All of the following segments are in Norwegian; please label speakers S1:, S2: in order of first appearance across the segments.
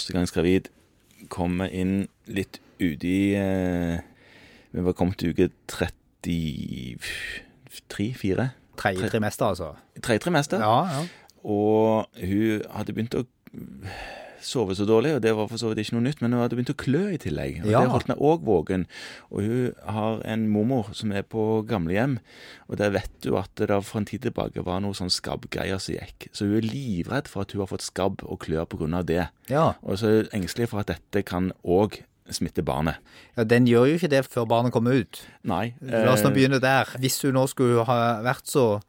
S1: førstegangsgravid, kommer inn litt uti eh, Vi var kommet til uke 33-4.
S2: Tredje trimester, altså.
S1: Tredje trimester.
S2: Ja, ja.
S1: Og hun hadde begynt å sove så dårlig, og det var for så vidt ikke noe nytt, men hun hadde begynt å klø i tillegg. Og
S2: Ja.
S1: Det holdt meg òg våken. Og hun har en mormor som er på gamlehjem, og der vet du at det da for en tid tilbake var noe sånn skabbgreier som gikk. Så hun er livredd for at hun har fått skabb og klør pga. det.
S2: ja.
S1: Og så er hun engstelig for at dette kan òg smitte barnet.
S2: Ja, Den gjør jo ikke det før barnet kommer ut.
S1: Nei.
S2: La oss
S1: eh,
S2: nå begynne der. Hvis hun nå skulle ha vært så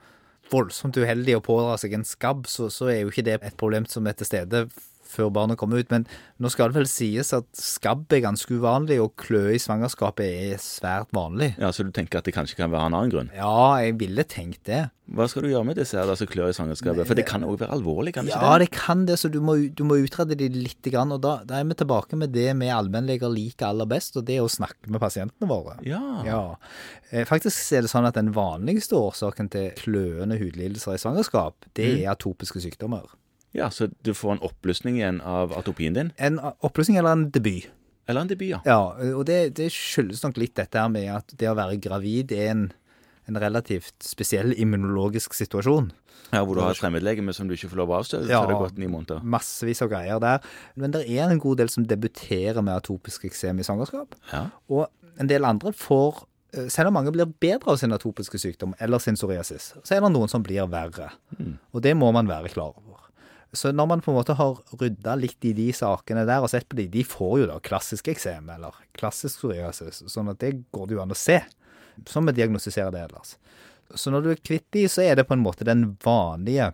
S2: voldsomt uheldig å pådra seg en skabb, så, så er jo ikke det et problem som er til stede før barnet kommer ut. Men nå skal det vel sies at skabb er ganske uvanlig, og kløe i svangerskapet er svært vanlig.
S1: Ja, Så du tenker at det kanskje kan være en annen grunn?
S2: Ja, jeg ville tenkt det.
S1: Hva skal du gjøre med disse her da som klør i svangerskapet? For det kan òg være alvorlig, kan det ikke det?
S2: Ja, det kan det, så du må, du må utrede det litt. Grann, og da, da er vi tilbake med det vi allmennleger liker aller best, og det er å snakke med pasientene våre.
S1: Ja.
S2: Ja. Eh, Faktisk er det sånn at den vanligste årsaken til kløende hudlidelser i svangerskap, det er atopiske sykdommer.
S1: ja, så du får en oppblussing igjen av atopien din?
S2: En oppløsning eller en debut.
S1: Eller en debut, ja.
S2: Ja, og det, det skyldes nok litt dette her med at det å være gravid er en, en relativt spesiell immunologisk situasjon.
S1: Ja, Hvor du har et fremmedlegeme som du ikke får lov å avstøte,
S2: Ja.
S1: så har det gått ni måneder.
S2: Massevis av greier der. Men det er en god del som debuterer med atopisk eksem i svangerskap.
S1: Ja.
S2: Og en del andre får eh, selv om mange blir bedre av sin atopiske sykdom eller sin psoriasis, så er det noen som blir verre. Og det må man være klar over. Så når man på en måte har rydda litt i de sakene der og sett på de, de får jo da klassisk eksem eller klassisk psoriasis, sånn at det går det jo an å se. Som vi diagnostiserer det ellers. Så når du er kvitt de, så er det på en måte den vanlige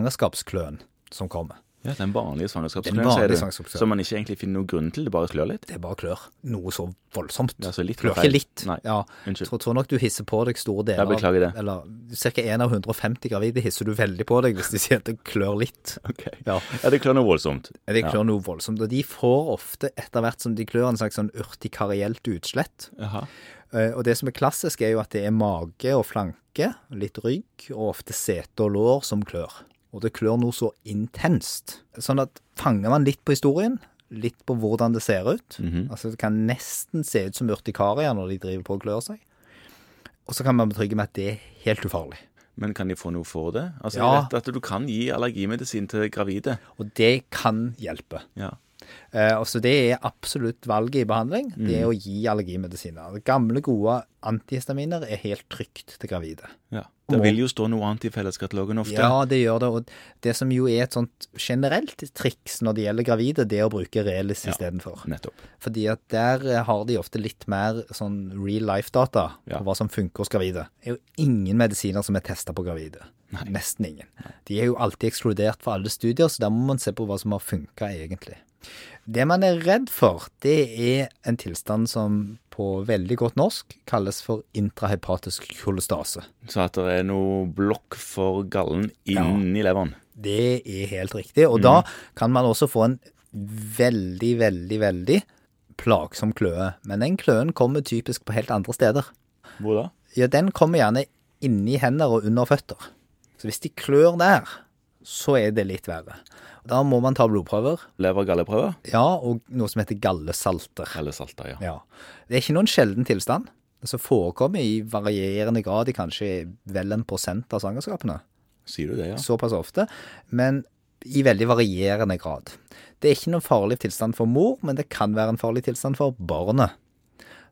S2: svangerskapskløen som kommer.
S1: ja, Den vanlige
S2: Den
S1: svangerskapskløen,
S2: vanlige
S1: sier du.
S2: svangerskapskløen.
S1: Som man ikke egentlig finner noen grunn til, det bare klør litt.
S2: Det er bare klør. Noe så voldsomt.
S1: Ja, så litt var
S2: klør
S1: feil.
S2: ikke litt.
S1: Nei,
S2: Ja,
S1: unnskyld.
S2: Tror, tror nok du hisser på deg store deler.
S1: Jeg beklager det.
S2: av- Eller ca. 1 av 150 gravide hisser du veldig på deg hvis de sier at det klør litt.
S1: Ja.
S2: Ja.
S1: ja, det klør noe voldsomt.
S2: De klør noe voldsomt. Og de får ofte, etter hvert som de klør, en slags sånn urtikarielt utslett.
S1: Jaha.
S2: Eh, Og det som er klassisk, er jo at det er mage og flanke, litt rygg, og ofte sete og lår som klør. Og det klør noe så intenst. Sånn at fanger man litt på historien, litt på hvordan det ser ut Altså Det kan nesten se ut som urtikaria når de driver på og klør seg. Og så kan man betrygge med at det er helt ufarlig.
S1: Men kan de få noe for det? Altså,
S2: Ja.
S1: jeg vet at Du kan gi allergimedisin til gravide.
S2: Og det kan hjelpe.
S1: Ja.
S2: Eh, og så det er absolutt valget i behandling, det er å gi allergimedisiner. Gamle, gode antihistaminer er helt trygt til gravide.
S1: ja. Det vil jo stå noe annet i felleskatalogen ofte.
S2: Ja, det gjør det. Og det som jo er et sånt generelt triks når det gjelder gravide, det er å bruke Relis
S1: Ja.
S2: istedenfor.
S1: Nettopp.
S2: Fordi at der eh, har de ofte litt mer sånn real life-data
S1: Ja.
S2: på hva som funker hos gravide. Det er jo ingen medisiner som er testa på gravide. Nesten ingen. De er jo alltid ekskludert fra alle studier, så der må man se på hva som har funka egentlig. Det man er redd for, det er en tilstand som på veldig godt norsk kalles for intrahepatisk kolestase.
S1: Så at det er noe blokk for gallen inni leveren.
S2: Det er helt riktig. Og da kan man også få en veldig, veldig, veldig plagsom kløe. Men den kløen kommer typisk på helt andre steder.
S1: Hvor da?
S2: Ja, den kommer gjerne inni hender og under føtter. Så hvis de klør der, så er det litt verre. Da må man ta blodprøver,
S1: Lever-galleprøver?
S2: ja, og noe som heter gallesalter.
S1: Eller salter, ja.
S2: Ja. Det er ikke noen sjelden tilstand. Det som forekommer i varierende grad i kanskje vel en prosent av svangerskapene
S1: Sier du det, ja?
S2: såpass ofte, men i veldig varierende grad. Det er ikke noen farlig tilstand for mor, men det kan være en farlig tilstand for barnet.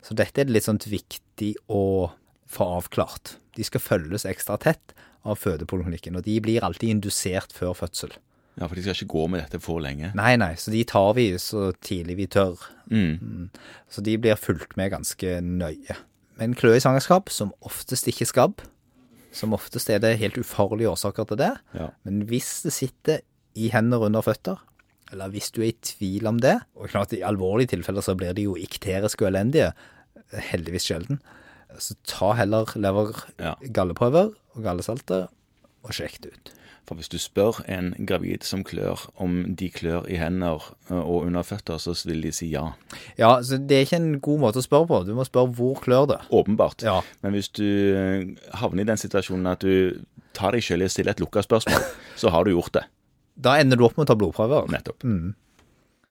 S2: Så dette er det litt sånn viktig å få avklart. De skal følges ekstra tett av fødepoliklinikken, og de blir alltid indusert før fødsel.
S1: Ja, For de skal ikke gå med dette for lenge.
S2: Nei, nei, så de tar vi så tidlig vi tør.
S1: Mm.
S2: Så de blir fulgt med ganske nøye. Men kløe i svangerskap, som oftest ikke skabb, som oftest er det helt ufarlige årsaker til det.
S1: Ja.
S2: Men hvis det sitter i hender under føtter, eller hvis du er i tvil om det, og klart i alvorlige tilfeller så blir de jo ikteriske og elendige, heldigvis sjelden, så ta heller
S1: Ja.
S2: lever-galleprøver og gallesalter og sjekk det ut.
S1: For hvis du spør en gravid som klør, om de klør i hender eh, og under føtter, så vil de si ja.
S2: Ja, så det er ikke en god måte å spørre på. Du må spørre hvor klør det.
S1: Åpenbart.
S2: Ja.
S1: Men hvis du eh, havner i den situasjonen at du tar deg selv i å stille et lukka spørsmål, så har du gjort det.
S2: Da ender du opp med å ta blodprøver.
S1: Nettopp.
S2: Mm.